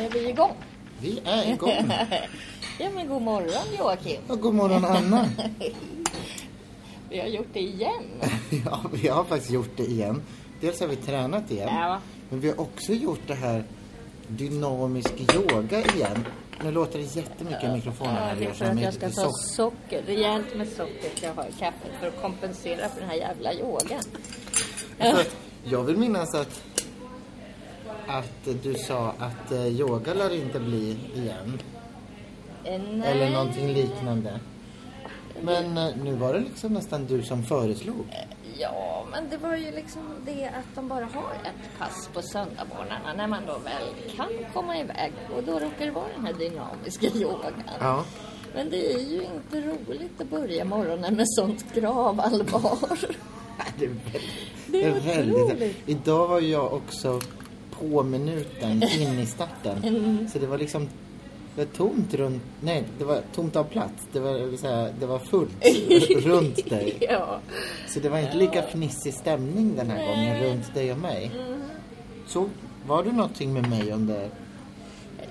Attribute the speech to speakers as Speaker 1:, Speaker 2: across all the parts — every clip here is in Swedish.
Speaker 1: Är vi igång?
Speaker 2: Vi är igång.
Speaker 1: ja, men god morgon Joakim.
Speaker 2: Ja, god morgon Anna.
Speaker 1: Vi har gjort det igen.
Speaker 2: Ja, vi har faktiskt gjort det igen. Dels har vi tränat igen.
Speaker 1: Ja.
Speaker 2: Men vi har också gjort det här dynamisk yoga igen. Nu låter det jättemycket i mikrofonen.
Speaker 1: Ja,
Speaker 2: här,
Speaker 1: det är för
Speaker 2: som
Speaker 1: att
Speaker 2: är
Speaker 1: jag ska
Speaker 2: lite
Speaker 1: ta
Speaker 2: soft.
Speaker 1: socker, rejält med socker ska jag ha i kaffet för att kompensera för den här jävla yogan.
Speaker 2: För att Jag vill minnas att, att du sa att eh, yoga lär inte bli igen.
Speaker 1: Eh, Nej.
Speaker 2: Eller någonting liknande. Men eh, nu var det liksom nästan du som föreslog.
Speaker 1: Eh, Ja, men det var ju liksom det att de bara har ett pass på söndagsmorgnarna när man då väl kan komma iväg. Och då råkar det vara den här dynamiska yogan.
Speaker 2: Ja.
Speaker 1: Men det är ju inte roligt att börja morgonen med sånt gravallvar.
Speaker 2: Det är väldigt...
Speaker 1: Det är otroligt.
Speaker 2: Idag var jag också på minuten in i starten.
Speaker 1: Mm.
Speaker 2: Så det var liksom... Det var tomt runt... Nej, det var tomt av plats. Det var, jag vill säga, det var fullt runt dig.
Speaker 1: ja.
Speaker 2: Så det var inte lika fnissig stämning den här gången runt dig och mig.
Speaker 1: Mm.
Speaker 2: Så var du någonting med mig under...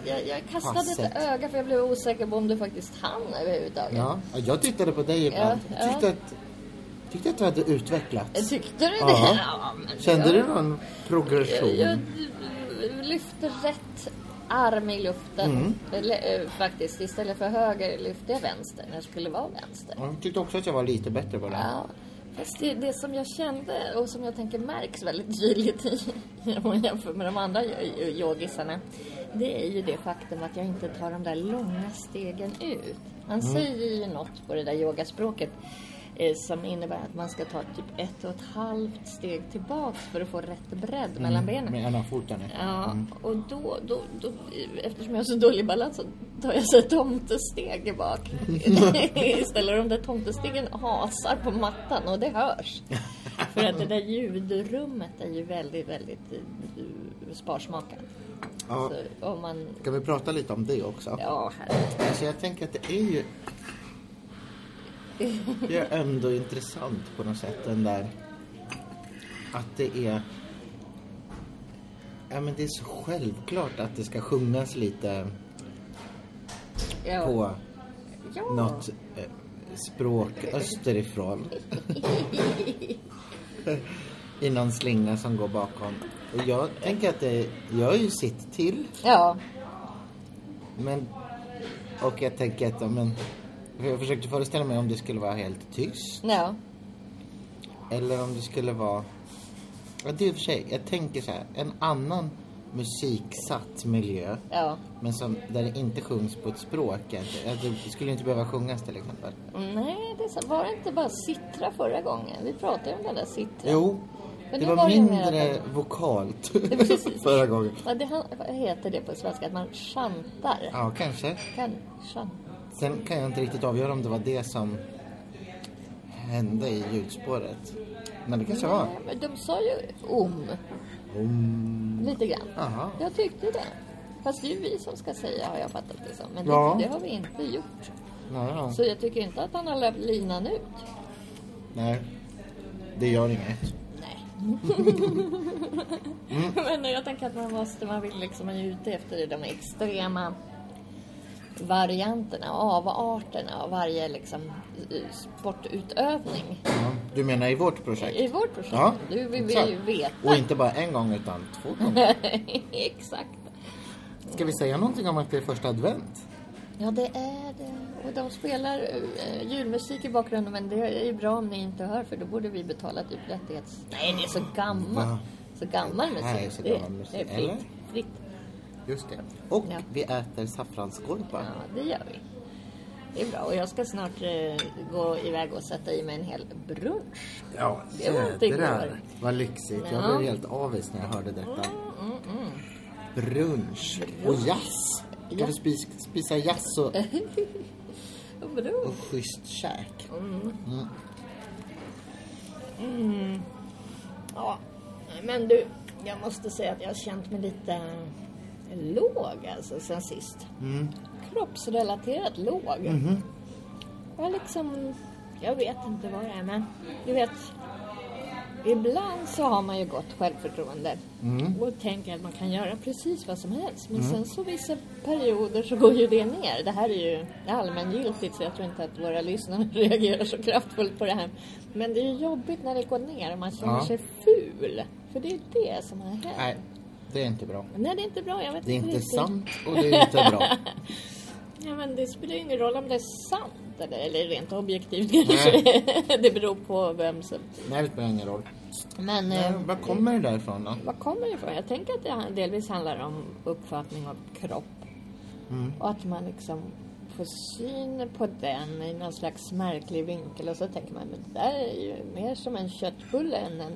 Speaker 1: Jag, jag kastade
Speaker 2: Passet.
Speaker 1: ett öga för jag blev osäker på om du faktiskt hann överhuvudtaget.
Speaker 2: Ja, ja, jag tittade på dig ibland.
Speaker 1: Ja,
Speaker 2: Jag tyckte att, tyckte att du hade utvecklats.
Speaker 1: Tyckte du det?
Speaker 2: Ja.
Speaker 1: men
Speaker 2: Kände
Speaker 1: jag,
Speaker 2: du någon
Speaker 1: Jag, jag
Speaker 2: progression?
Speaker 1: lyfte rätt arm i luften
Speaker 2: Mm.
Speaker 1: Eller, eh, faktiskt. Istället för höger lyfte jag vänster när det skulle vara vänster.
Speaker 2: Jag tyckte också att jag var lite bättre på det.
Speaker 1: Ja. Fast det, det som jag kände och som jag tänker märks väldigt tydligt i, om man jämför med de andra yo- yogisarna, det är ju det faktum att jag inte tar de där långa stegen ut. Man säger ju något på det där yogaspråket eh, som innebär att man ska ta typ ett och ett halvt steg tillbaks för att få rätt bredd
Speaker 2: Mm,
Speaker 1: mellan benen.
Speaker 2: Med ena foten.
Speaker 1: Ja,
Speaker 2: Mm.
Speaker 1: och då, då, då, eftersom jag har så dålig balans så tar jag så här tomtesteg bak. Istället de där tomtestegen hasar på mattan och det hörs. För att det där ljudrummet är ju väldigt, väldigt eh, sparsmakat.
Speaker 2: Ja.
Speaker 1: Så om man...
Speaker 2: Ska vi prata lite om det också?
Speaker 1: Ja, herregud.
Speaker 2: Alltså jag tänker att det är ju... Det är ändå intressant på något sätt den där... Att det är... Ja men det är så självklart att det ska sjungas lite
Speaker 1: Ja.
Speaker 2: på
Speaker 1: ja.
Speaker 2: något eh, språk österifrån. I någon slinga som går bakom. Och jag tänker att det gör ju sitt till.
Speaker 1: Ja.
Speaker 2: Men, och jag tänker att, ja, men, för jag försökte föreställa mig om det skulle vara helt tyst
Speaker 1: Ja.
Speaker 2: eller om det skulle vara, ja det är i och för sig, jag tänker så här, en annan musiksatt miljö
Speaker 1: Ja.
Speaker 2: men som, där det inte sjungs på ett språk. Jag, jag, det skulle inte behöva sjungas till exempel.
Speaker 1: Nej, det är så. var det inte bara sittra förra gången? Vi pratade ju om den där sittra.
Speaker 2: Jo,
Speaker 1: Men
Speaker 2: det
Speaker 1: då
Speaker 2: var,
Speaker 1: var det ju mer
Speaker 2: mindre
Speaker 1: att
Speaker 2: vokalt
Speaker 1: precis.
Speaker 2: förra gången.
Speaker 1: Ja, det han- vad heter det på svenska? Att man chantar.
Speaker 2: Ja, kanske.
Speaker 1: Kan chanta.
Speaker 2: Sen kan jag inte riktigt avgöra om det var det som hände i ljudspåret. Men det kanske var.
Speaker 1: Nej, Eh, men de sa ju om. Lite grann.
Speaker 2: Aha.
Speaker 1: Jag tyckte det. Fast det är ju vi som ska säga har jag fattat det som. Men det,
Speaker 2: Ja.
Speaker 1: det har vi inte gjort.
Speaker 2: Nej, ja.
Speaker 1: Så jag tycker inte att han har löpt linan ut.
Speaker 2: Nej, det gör inget.
Speaker 1: Nej.
Speaker 2: Mm.
Speaker 1: men jag tänker att man måste, man vill liksom, man är ute efter de extrema varianterna, avarterna av varje liksom eh, sportutövning.
Speaker 2: Ja. Du menar i vårt projekt?
Speaker 1: I vårt projekt.
Speaker 2: Ja,
Speaker 1: du, vi vill
Speaker 2: exakt.
Speaker 1: ju veta.
Speaker 2: Och inte bara en gång utan två gånger.
Speaker 1: Exakt.
Speaker 2: Ska vi säga någonting om att det är första advent?
Speaker 1: Ja, det är det. Och de spelar eh, julmusik i bakgrunden, men det är ju bra om ni inte hör, för då borde vi betala typ rättighets... Nej, det är så gammal.
Speaker 2: Va?
Speaker 1: Så gammal
Speaker 2: Det
Speaker 1: musik.
Speaker 2: här är så gammal musik,
Speaker 1: Det är
Speaker 2: eller?
Speaker 1: fritt. fritt.
Speaker 2: Just det. Och
Speaker 1: Ja.
Speaker 2: vi äter
Speaker 1: Ja,
Speaker 2: saffranskorpar.
Speaker 1: det gör vi. Det är bra. Och jag ska snart eh, gå iväg och sätta i mig en hel brunch.
Speaker 2: Ja,
Speaker 1: Det var inte jädrar. igår.
Speaker 2: Vad lyxigt.
Speaker 1: Ja. Mm,
Speaker 2: Jag blev helt avis när jag hörde detta. Brunch och jazz. Kan
Speaker 1: Ja. Mm.
Speaker 2: du spisa, spisa jazz och,
Speaker 1: Brunch.
Speaker 2: och schysst käk?
Speaker 1: Mm. Ja, men du, jag måste säga att jag har känt mig lite låg alltså sen sist.
Speaker 2: Mm.
Speaker 1: Kroppsrelaterat låg.
Speaker 2: Mm-hmm.
Speaker 1: Jag har liksom, jag vet inte vad det är men du vet, Ibland så har man ju gott självförtroende
Speaker 2: Mm.
Speaker 1: och tänker att man kan göra precis vad som helst. Men sen så vissa perioder så går ju det ner. Det här är ju allmängiltigt så jag tror inte att våra lyssnare reagerar så kraftfullt på det här. Men det är ju jobbigt när det går ner och man känner
Speaker 2: Ja.
Speaker 1: sig ful. För det är det som har hänt.
Speaker 2: Nej, det är inte bra.
Speaker 1: Nej, det är inte bra. Jag vet
Speaker 2: Det är inte
Speaker 1: riktigt.
Speaker 2: sant och det är inte bra.
Speaker 1: Ja, men det spelar ju ingen roll om det är sant eller, eller rent objektivt kanske. det beror på vem som...
Speaker 2: Nej, det spelar ingen roll.
Speaker 1: Men
Speaker 2: Nej,
Speaker 1: eh,
Speaker 2: var kommer det där ifrån då?
Speaker 1: vad kommer det ifrån? Jag tänker att det delvis handlar om uppfattning av kropp.
Speaker 2: Mm.
Speaker 1: Och att man liksom får syn på den i någon slags märklig vinkel och så tänker man men det där är ju mer som en köttbulle än en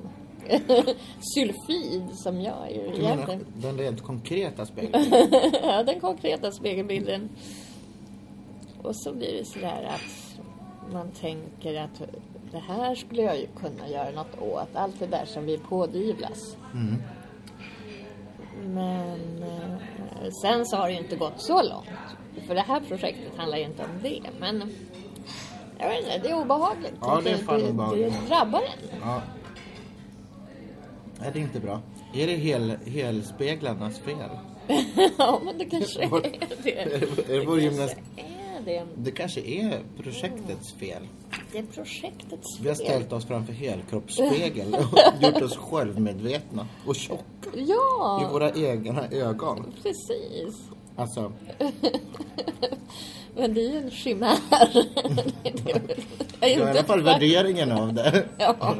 Speaker 1: sylfid som jag är ju
Speaker 2: Du menar
Speaker 1: egentligen.
Speaker 2: den rent konkreta spegeln?
Speaker 1: ja, den konkreta spegelbilden. Och så blir det sådär att man tänker att det här skulle jag ju kunna göra något åt. Allt det där som vi pådyvlas.
Speaker 2: Mm.
Speaker 1: Men eh, sen så har det ju inte gått så långt. För det här projektet handlar ju inte om det. Men jag vet inte, det är obehagligt.
Speaker 2: Ja, det är fan
Speaker 1: det,
Speaker 2: obehagligt.
Speaker 1: Det drabbar en.
Speaker 2: Ja. Nej, det är inte bra. Är det hel, helspeglarnas fel?
Speaker 1: ja, men det kanske är det.
Speaker 2: Är det vår gymnast...
Speaker 1: Är det.
Speaker 2: Det kanske är projektets fel.
Speaker 1: Det är projektets
Speaker 2: Vi har
Speaker 1: fel.
Speaker 2: ställt oss framför helkroppsspegel och gjort oss självmedvetna och tjocka i
Speaker 1: Ja,
Speaker 2: våra egna ögon.
Speaker 1: precis.
Speaker 2: Alltså,
Speaker 1: Men det är ju en chimär. Det är väl- det är ju
Speaker 2: det var i
Speaker 1: inte
Speaker 2: alla fall
Speaker 1: fakt-
Speaker 2: värderingen av det.
Speaker 1: Ja,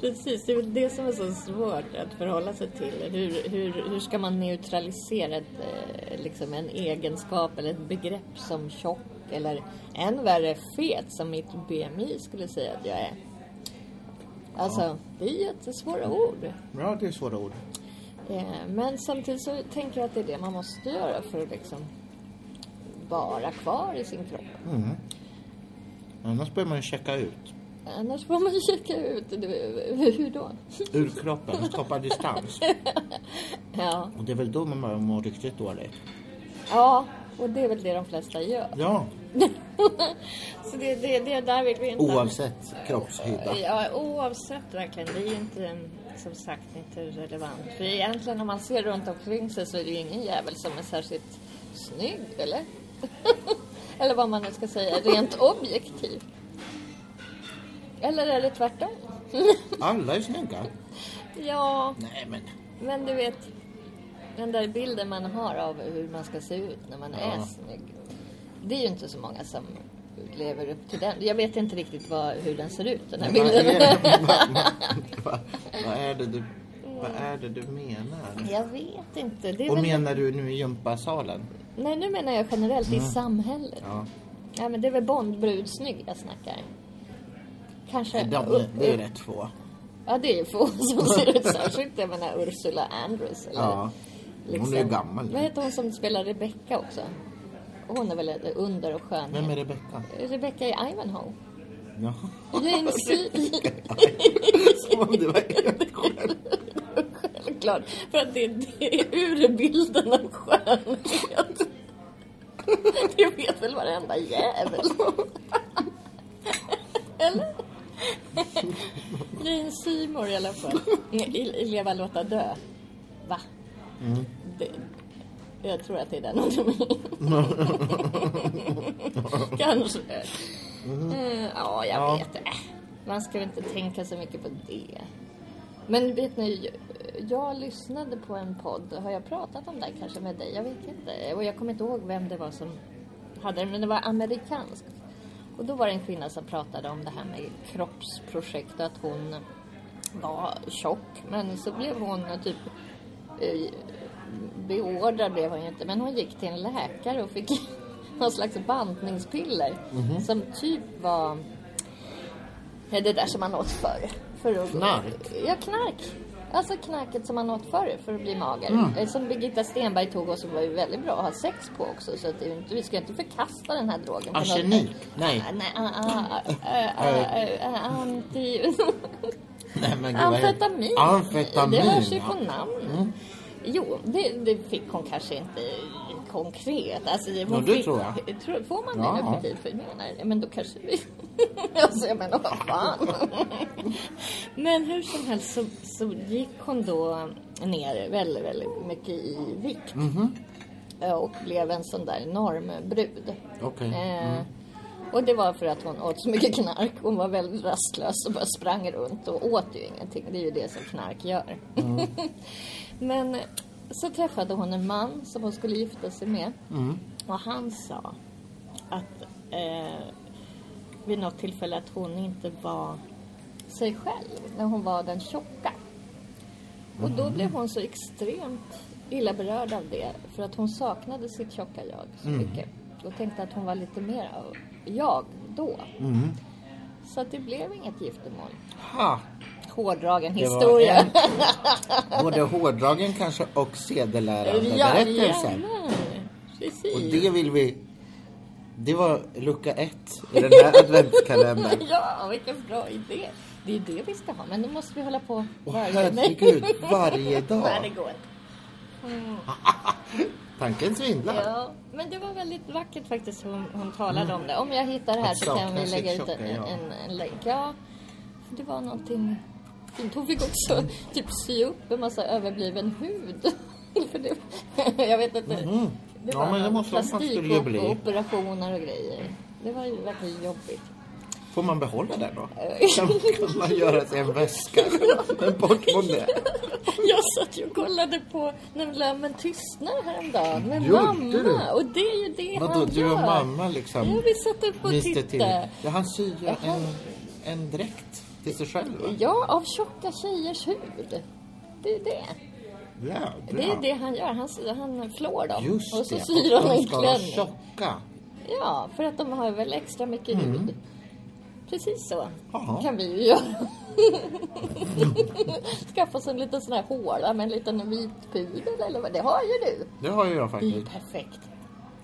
Speaker 1: precis. Det är väl det som är så svårt att förhålla sig till. Hur, hur, hur ska man neutralisera ett, eh, liksom en egenskap eller ett begrepp som tjock eller än värre fet som mitt BMI skulle säga att jag är. Alltså, det är jättesvåra ord.
Speaker 2: Ja, det är svåra ord.
Speaker 1: Eh, Men samtidigt så tänker jag att det är det man måste göra för att liksom vara kvar i sin kropp.
Speaker 2: Mm. Annars börjar man ju checka ut.
Speaker 1: Annars får man checka ut. det- Hur då?
Speaker 2: Ur kroppen, skapa distans.
Speaker 1: Ja.
Speaker 2: Och det är väl då man börjar må riktigt dåligt.
Speaker 1: ja, och det är väl det de flesta gör.
Speaker 2: Ja,
Speaker 1: Så det, det, det där vill vi inte.
Speaker 2: oavsett kroppshydda.
Speaker 1: Ja, oavsett verkligen. Det är ju inte en, som sagt inte relevant. För egentligen om man ser runt omkring sig så är det ju ingen jävel som är särskilt snygg, eller? eller vad man nu ska säga, rent objektivt. Eller är det tvärtom?
Speaker 2: Alla är snygga.
Speaker 1: Ja,
Speaker 2: Nej, men
Speaker 1: men du vet den där bilden man har av hur man ska se ut när man är
Speaker 2: Ja.
Speaker 1: snygg. Det är ju inte så många som lever upp till den. Jag vet inte riktigt vad, hur den ser ut, den här
Speaker 2: vad
Speaker 1: bilden.
Speaker 2: är, det, vad, vad, vad, är det du, vad är det du menar?
Speaker 1: Jag vet inte. Det är
Speaker 2: Och
Speaker 1: väl...
Speaker 2: menar du nu i gympasalen?
Speaker 1: Nej, nu menar jag generellt i samhället. Ja.
Speaker 2: Ja,
Speaker 1: men det är väl Bondbrudsnygg jag snackar. Kanske...
Speaker 2: de, det är rätt få.
Speaker 1: Ja, det är ju få som ser ut särskilt. Jag menar Ursula Andress. Eller, liksom.
Speaker 2: Ja. Hon är ju gammal
Speaker 1: Vad
Speaker 2: nu.
Speaker 1: heter hon som spelar Rebecca också? Hon är väl ett under och skön.
Speaker 2: Vem är Rebecka?
Speaker 1: Rebecca i Ivanhoe.
Speaker 2: Ja.
Speaker 1: Jane Seeley.
Speaker 2: Som om det var helt själv.
Speaker 1: Självklart. För att det, det är urbilden av skönhet. Det vet väl varenda jävel. Eller? Jane Seymour i alla fall. I, i Leva, låta dö. Va?
Speaker 2: Mm.
Speaker 1: Det, jag tror att det är den hon Kanske. Eh, ja, jag
Speaker 2: Ja.
Speaker 1: vet. Äh, Man ska väl inte tänka så mycket på det. Men vet ni, jag lyssnade på en podd. Har jag pratat om det här kanske med dig? Jag vet inte. Och jag kommer inte ihåg vem det var som hade den, men det var amerikansk. Och då var det en kvinna som pratade om det här med kroppsprojekt och att hon var tjock. Men så blev hon typ eh, beordrad blev hon ju inte, men hon gick till en läkare och fick någon slags bantningspiller som typ var Ja, det där som man åt förr. För att,
Speaker 2: Knark?
Speaker 1: Ja, knark. Alltså knarket som man åt förr för att bli mager. Eh, Som Birgitta Stenberg tog och som var ju väldigt bra att ha sex på också. Så att det är ju inte, vi ska ju inte förkasta den här drogen. på något sätt.
Speaker 2: Arsenik? Nej.
Speaker 1: Ah, Nej, ah, ah, ah, ah, ah, ah, anti...
Speaker 2: Nej men gud, vad heter-
Speaker 1: Amfetamin.
Speaker 2: Amfetamin.
Speaker 1: Det hörs ju på
Speaker 2: ja. Mm.
Speaker 1: namn. Jo, det, det fick hon kanske inte konkret. Alltså,
Speaker 2: Ja,
Speaker 1: hon
Speaker 2: det
Speaker 1: fick-
Speaker 2: tror jag.
Speaker 1: Tror- Får man
Speaker 2: Ja.
Speaker 1: det nu för tiden? För jag menar, men då kanske vi... alltså, jag menar, vad fan. men hur som helst så, så gick hon då ner väldigt, väldigt mycket i vikt.
Speaker 2: Mhm.
Speaker 1: Eh, Och blev en sån där enorm brud.
Speaker 2: Okej.
Speaker 1: Eh, Och det var för att hon åt så mycket knark. Hon var väldigt rastlös och bara sprang runt och åt ju ingenting. Det är ju det som knark gör. Men så träffade hon en man som hon skulle gifta sig med. Och han sa att eh, vid något tillfälle att hon inte var sig själv när hon var den tjocka. Och då blev hon så extremt illa berörd av det för att hon saknade sitt tjocka jag så
Speaker 2: Mm.
Speaker 1: mycket och tänkte att hon var lite mer av jag då.
Speaker 2: Mm.
Speaker 1: Så att det blev inget giftermål.
Speaker 2: Ha!
Speaker 1: Hårdragen
Speaker 2: Det var
Speaker 1: historia.
Speaker 2: en- Både hårdragen kanske och sedelärande berättelser.
Speaker 1: Jajamän, precis.
Speaker 2: Och det vill vi... Det var lucka ett i den här adventskalendern.
Speaker 1: Ja, vilken bra idé. Det är det vi ska ha, men nu måste vi hålla på
Speaker 2: Åh
Speaker 1: varje- Nej.
Speaker 2: herregud, varje
Speaker 1: Vad det
Speaker 2: dag.
Speaker 1: går.
Speaker 2: Tanken svindlar.
Speaker 1: Ja, men det var väldigt vackert faktiskt hon, hon talade om det. Om jag hittar det här
Speaker 2: Att
Speaker 1: så kan
Speaker 2: sakna
Speaker 1: vi
Speaker 2: sitt
Speaker 1: lägga ut
Speaker 2: Mm. tjocka
Speaker 1: en,
Speaker 2: jag.
Speaker 1: en, en länk. Ja, det var någonting fint. Hon fick
Speaker 2: Mm.
Speaker 1: också typ sy upp en massa överbliven hud. För det, jag vet inte. Det
Speaker 2: Mm-hmm. Ja,
Speaker 1: var
Speaker 2: men det
Speaker 1: någon
Speaker 2: måste man- man skulle ju
Speaker 1: plastik
Speaker 2: bli.
Speaker 1: och operationer och grejer. Det var ju verkligen jobbigt.
Speaker 2: Får man behålla den då? Kan, kan man göra sig en väska? En portmonnä?
Speaker 1: Jag satt ju och kollade på När Lömmen tystnar häromdagen med
Speaker 2: Gjorde
Speaker 1: mamma.
Speaker 2: du?
Speaker 1: Och det är ju det
Speaker 2: Vadå,
Speaker 1: han
Speaker 2: du
Speaker 1: gör.
Speaker 2: och mamma
Speaker 1: Ja,
Speaker 2: liksom
Speaker 1: vi satt upp och
Speaker 2: myste till?
Speaker 1: tittade.
Speaker 2: Ja, han syr ju
Speaker 1: Jaha.
Speaker 2: en, en dräkt till sig själv va?
Speaker 1: Ja, av tjocka tjejers hud. Det är det.
Speaker 2: Ja,
Speaker 1: Det
Speaker 2: bra.
Speaker 1: är det han gör. Han, han flår dem.
Speaker 2: Just
Speaker 1: och så
Speaker 2: det,
Speaker 1: syr han en
Speaker 2: de ska vara
Speaker 1: klänning.
Speaker 2: tjocka.
Speaker 1: Ja, för att de har väl extra mycket hud. Precis så
Speaker 2: Mm. Jaha.
Speaker 1: kan vi ju göra. Skaffa oss en liten sån här håla med en liten vit pudel eller vad. Det har ju du.
Speaker 2: Det har ju jag
Speaker 1: Det är ju
Speaker 2: faktiskt.
Speaker 1: perfekt.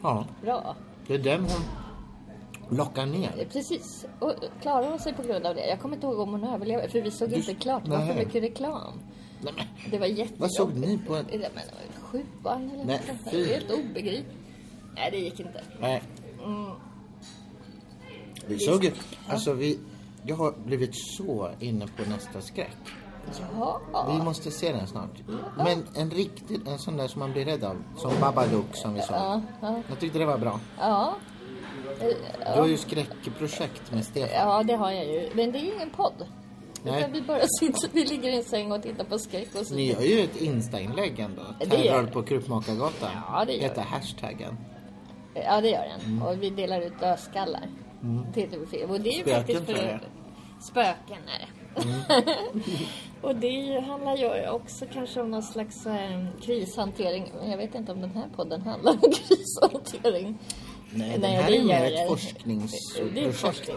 Speaker 2: Ja,
Speaker 1: Bra.
Speaker 2: det är den hon lockar ner.
Speaker 1: Precis. Och klarar hon sig på grund av det? Jag kommer inte ihåg om hon överlever. För vi såg
Speaker 2: Du-
Speaker 1: inte klart. Det var för
Speaker 2: Nej.
Speaker 1: mycket reklam.
Speaker 2: Nej, men,
Speaker 1: Det var jättejobbigt.
Speaker 2: Vad såg ni på en-
Speaker 1: Ja, men, det var ju Sjuan eller
Speaker 2: Nej,
Speaker 1: något sånt där.
Speaker 2: fy.
Speaker 1: Det är Helt obegripligt. Nej, det gick inte.
Speaker 2: nej.
Speaker 1: Mm.
Speaker 2: Vi såg ju, alltså vi, jag har blivit så inne på nästa skräck.
Speaker 1: Ja.
Speaker 2: Vi måste se den snart. Men en riktig, en sån där som man blir rädd av. Som Babadook som vi såg.
Speaker 1: Ja, ja,
Speaker 2: Jag tyckte det var bra.
Speaker 1: ja.
Speaker 2: Du har ju skräckprojekt med Stefan.
Speaker 1: ja, det har jag ju. Men det är ingen podd.
Speaker 2: Nej.
Speaker 1: Utan vi bara sitter, vi ligger i en säng och tittar på skräck och så.
Speaker 2: Ni gör ju ett Insta-inlägg ändå.
Speaker 1: Det gör
Speaker 2: Terror
Speaker 1: vi.
Speaker 2: på Krukmakargatan.
Speaker 1: Ja, det gör
Speaker 2: Heter
Speaker 1: vi.
Speaker 2: hashtaggen.
Speaker 1: Ja, det gör den.
Speaker 2: Mm.
Speaker 1: Och vi delar ut dödskallar. Till TV4. Och det är ju
Speaker 2: Spöken,
Speaker 1: faktiskt
Speaker 2: tror jag.
Speaker 1: för... Spöken är det.
Speaker 2: Mm.
Speaker 1: och det är ju- handlar ju också kanske om någon slags eh, krishantering. Men Jag vet inte om den här podden handlar om krishantering.
Speaker 2: Nej,
Speaker 1: Nej,
Speaker 2: den här
Speaker 1: det
Speaker 2: är mer
Speaker 1: gör
Speaker 2: ett
Speaker 1: jag. Det är
Speaker 2: forskningsprojekt.
Speaker 1: forskning.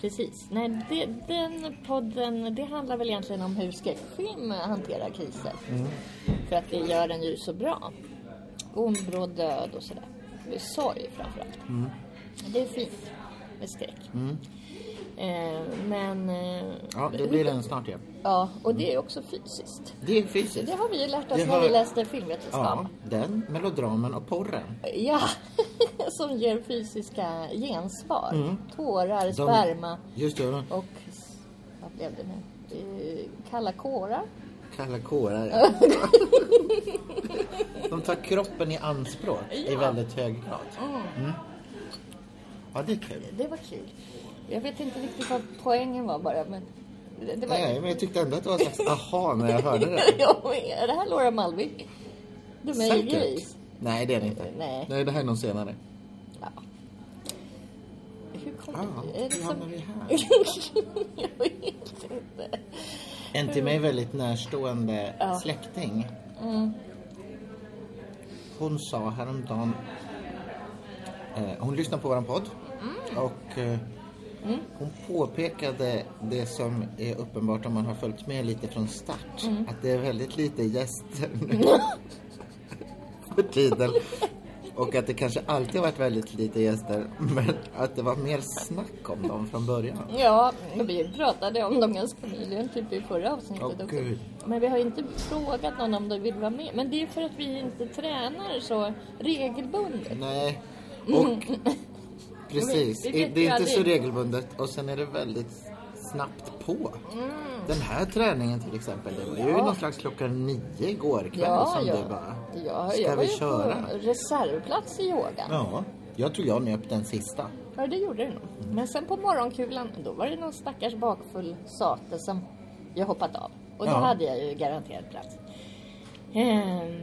Speaker 1: Precis. Nej, det, den podden, det handlar väl egentligen om hur skräckfilm hanterar kriser.
Speaker 2: Mm.
Speaker 1: För att det gör den ju så bra. Ond, bråd död och sådär. Det är sorg framförallt. Mm. Det är fint med skräck. Eh, men... Eh,
Speaker 2: Mm. Ja, det blir den snart igen.
Speaker 1: ja, och det är också fysiskt.
Speaker 2: Det är fysiskt.
Speaker 1: Det har vi ju lärt oss
Speaker 2: Det
Speaker 1: när
Speaker 2: har-
Speaker 1: vi läste filmvetenskap.
Speaker 2: Ja, den, melodramen och porren.
Speaker 1: Ja, som ger fysiska gensvar.
Speaker 2: Mm.
Speaker 1: Tårar, sperma
Speaker 2: Just det, de
Speaker 1: och... Vad blev det nu? Eh, Kalla kårar.
Speaker 2: kalla kårar. ja. de tar kroppen i anspråk i
Speaker 1: Ja.
Speaker 2: väldigt hög grad. Mm. Ja, det är kul.
Speaker 1: Det var kul. Jag vet inte riktigt vad poängen var bara, men... Det, det var...
Speaker 2: Nej, men jag tyckte ändå att det var en slags aha när jag hörde det.
Speaker 1: Ja, men är det här Laura Malmvik? Du är
Speaker 2: Säkert.
Speaker 1: gris.
Speaker 2: Nej, det är det inte.
Speaker 1: Nej.
Speaker 2: det här är någon senare.
Speaker 1: Ja. Hur kom
Speaker 2: Ja,
Speaker 1: det? Är liksom- det
Speaker 2: hur Ah, hamnar vi
Speaker 1: som...
Speaker 2: här?
Speaker 1: Jag vet inte.
Speaker 2: En till mig väldigt närstående
Speaker 1: Ja.
Speaker 2: släkting. Hon sa häromdagen... Eh, hon lyssnar på vår podd. Och eh, hon påpekade det som är uppenbart om man har följt med lite från start. Att det är väldigt lite gäster nu. för tiden. Och att det kanske alltid har varit väldigt lite gäster, men att det var mer snack om dem från början.
Speaker 1: Ja, men vi pratade om dem ganska nyligen, typ i förra avsnittet
Speaker 2: Åh,
Speaker 1: också.
Speaker 2: gud.
Speaker 1: Men vi har inte frågat någon om de vill vara med. Men det är för att vi inte tränar så regelbundet.
Speaker 2: Nej, och precis.
Speaker 1: Vi- Mm. vi
Speaker 2: I-
Speaker 1: fick
Speaker 2: Det
Speaker 1: ju
Speaker 2: är inte så
Speaker 1: aldrig-
Speaker 2: regelbundet och sen är det väldigt snabbt på. Den här träningen till exempel, det var ju
Speaker 1: Mm. Ja.
Speaker 2: någon slags klockan nio igår kväll som
Speaker 1: ja.
Speaker 2: du bara,
Speaker 1: ja,
Speaker 2: ska
Speaker 1: jag var
Speaker 2: vi
Speaker 1: ju
Speaker 2: köra?
Speaker 1: på reservplats i yogan.
Speaker 2: Ja, jag tror jag nöp den sista.
Speaker 1: Ja, det gjorde det nog. Men sen på morgonkulan, då var det någon stackars bakfull sate som jag hoppat av. Och då
Speaker 2: Ja.
Speaker 1: hade jag ju garanterat plats. Ehm,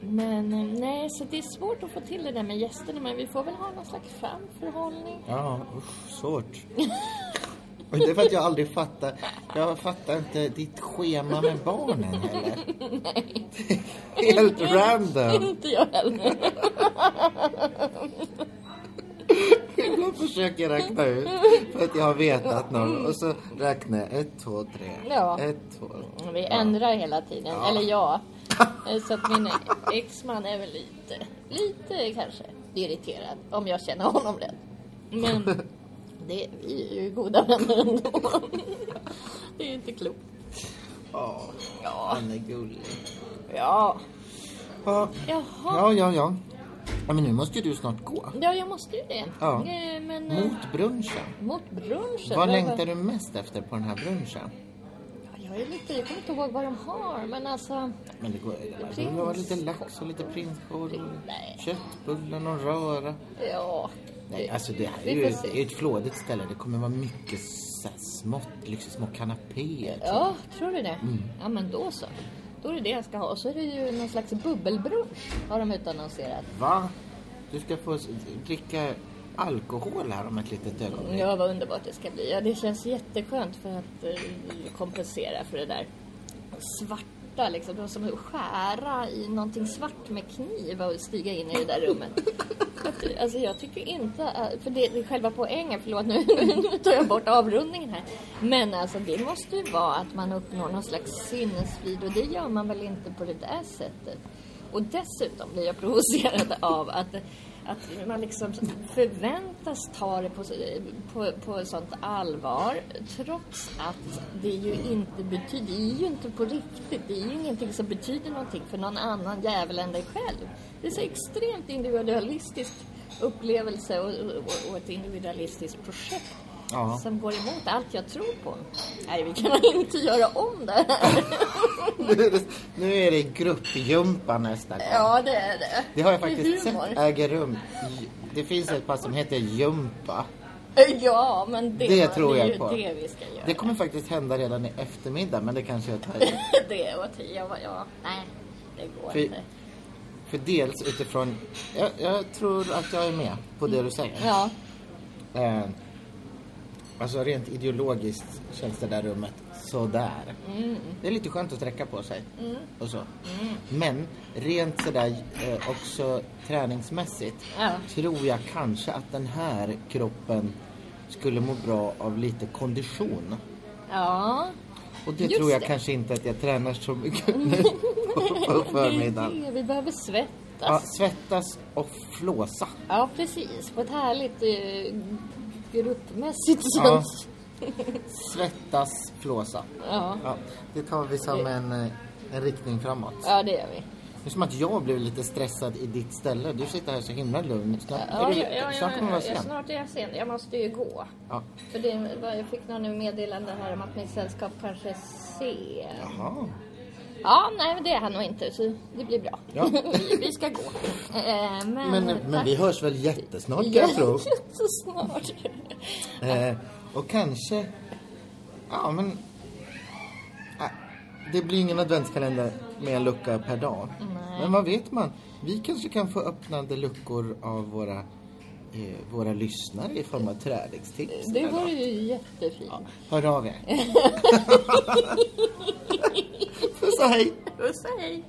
Speaker 1: men eh, nej, så det är svårt att få till det där med gästerna, men vi får väl ha någon slags framförhållning.
Speaker 2: Ja, usch, svårt. Och det är för att jag aldrig fattar. Jag fattar inte ditt schema med barnen heller. Helt random.
Speaker 1: Inte jag heller.
Speaker 2: Jag försöker räkna ut för att jag har vetat någon. Och så räknar jag ett, två, tre.
Speaker 1: Ja.
Speaker 2: Ett, två.
Speaker 1: Mm, Vi ändrar hela tiden, eller jag. Eh, Så att min exman är väl lite, lite kanske irriterad om jag känner honom rätt. Men det, vi är ju goda vänner ändå. Det är ju inte klokt.
Speaker 2: Ja,
Speaker 1: Ja,
Speaker 2: han är gullig.
Speaker 1: ja.
Speaker 2: Ja,
Speaker 1: Jaha.
Speaker 2: ja, ja. ja. Ja, men nu måste ju du snart gå.
Speaker 1: Ja, jag måste ju det.
Speaker 2: Ja.
Speaker 1: Eh, Men eh,
Speaker 2: Mot brunchen.
Speaker 1: mot brunchen.
Speaker 2: Vad längtar du mest efter på den här brunchen?
Speaker 1: Ja, Jag är lite, jag kommer inte ihåg vad de har, men alltså.
Speaker 2: Men det går ju.
Speaker 1: Prins-
Speaker 2: Du har lite lax och lite prinskorv.
Speaker 1: Nej.
Speaker 2: och Köttbullar, någon röra.
Speaker 1: Ja.
Speaker 2: Nej, alltså det här
Speaker 1: Vi
Speaker 2: är ju
Speaker 1: får
Speaker 2: ett,
Speaker 1: se.
Speaker 2: det är ett flådigt ställe. Det kommer vara mycket så här smått, liksom små kanapéer.
Speaker 1: Ja, tror du det? Ja, men då så. Då är det det jag ska ha. Och så är det ju någon slags bubbelbrunch har de utannonserat.
Speaker 2: Va? Du ska få s- dricka alkohol här om ett litet ögonblick.
Speaker 1: Mm, Ja, vad underbart det ska bli. Ja, det känns jätteskönt för att eh, kompensera för det där svarta, liksom. Det var som att skära i någonting svart med kniv och stiga in i det där rummet. Att, Alltså jag tycker inte, att- för det, det är själva poängen, förlåt nu, nu tar jag bort avrundningen här. Men alltså det måste ju vara att man uppnår någon slags sinnesfrid och det gör man väl inte på det där sättet. Och dessutom blir jag provocerad av att, att man liksom förväntas ta det på, på, på sånt allvar trots att det ju inte betyder, det är ju inte på riktigt, det är ju ingenting som betyder någonting för någon annan jävel än dig själv. Det är så extremt individualistisk upplevelse och, och, och ett individualistiskt projekt
Speaker 2: Ja.
Speaker 1: som går emot allt jag tror på. Nej, vi kan inte göra om det här.
Speaker 2: Nu är det- nu är det gruppjumpa nästa gång.
Speaker 1: Ja, det är det.
Speaker 2: Det har jag
Speaker 1: är
Speaker 2: faktiskt
Speaker 1: humor.
Speaker 2: sett äger rum. Det finns ett pass som heter jumpa.
Speaker 1: Ja, men det,
Speaker 2: Det tror
Speaker 1: det är
Speaker 2: jag
Speaker 1: ju
Speaker 2: på.
Speaker 1: det vi ska göra.
Speaker 2: Det kommer faktiskt hända redan i eftermiddag, men det kanske jag tar i.
Speaker 1: det är åt jag var ja. Nej, det går
Speaker 2: Fy.
Speaker 1: inte.
Speaker 2: För dels utifrån... Jag, jag tror att jag är med på det du säger.
Speaker 1: Ja,
Speaker 2: Eh, alltså rent ideologiskt känns det där rummet sådär.
Speaker 1: Mm.
Speaker 2: Det är lite skönt att sträcka på sig. Och så. Men rent sådär eh, också träningsmässigt
Speaker 1: Ja.
Speaker 2: tror jag kanske att den här kroppen skulle må bra av lite kondition.
Speaker 1: ja.
Speaker 2: Och det
Speaker 1: Just
Speaker 2: tror jag
Speaker 1: det.
Speaker 2: kanske inte att jag tränar så mycket nu på, på
Speaker 1: Det
Speaker 2: förmiddagen.
Speaker 1: är det. Vi behöver svettas.
Speaker 2: Ja, svettas och flåsa.
Speaker 1: Ja, precis. På ett härligt eh, gruppmässigt
Speaker 2: Ja.
Speaker 1: sätt.
Speaker 2: Svettas, flåsa.
Speaker 1: Ja.
Speaker 2: Ja, det tar vi som en, eh, en riktning framåt.
Speaker 1: ja, det gör vi.
Speaker 2: Det är som att jag blev lite stressad i ditt ställe. Du sitter här så himla lugn. Snart,
Speaker 1: Ja,
Speaker 2: är
Speaker 1: ja,
Speaker 2: du,
Speaker 1: ja,
Speaker 2: snart kommer du
Speaker 1: ja,
Speaker 2: vara
Speaker 1: ja,
Speaker 2: sen.
Speaker 1: snart är jag sen. Jag måste ju gå.
Speaker 2: Ja.
Speaker 1: För det, var- jag fick någon meddelande här om att mitt sällskap kanske är sen.
Speaker 2: Jaha.
Speaker 1: Ja, nej, men det är han nog inte. Så det blir bra.
Speaker 2: Ja.
Speaker 1: vi, vi ska gå. Eh, men,
Speaker 2: Men, men vi hörs väl jättesnart kan jag tro.
Speaker 1: Jättesnart.
Speaker 2: Eh, och kanske... Ja, men... ah, Det blir ingen adventskalender med en lucka per dag. Men vad vet man? Vi kanske kan få öppnade luckor av våra, eh, våra lyssnare i form av träningstips.
Speaker 1: Det vore ju jättefint.
Speaker 2: Hör av er. Puss och hej!
Speaker 1: Puss och hej.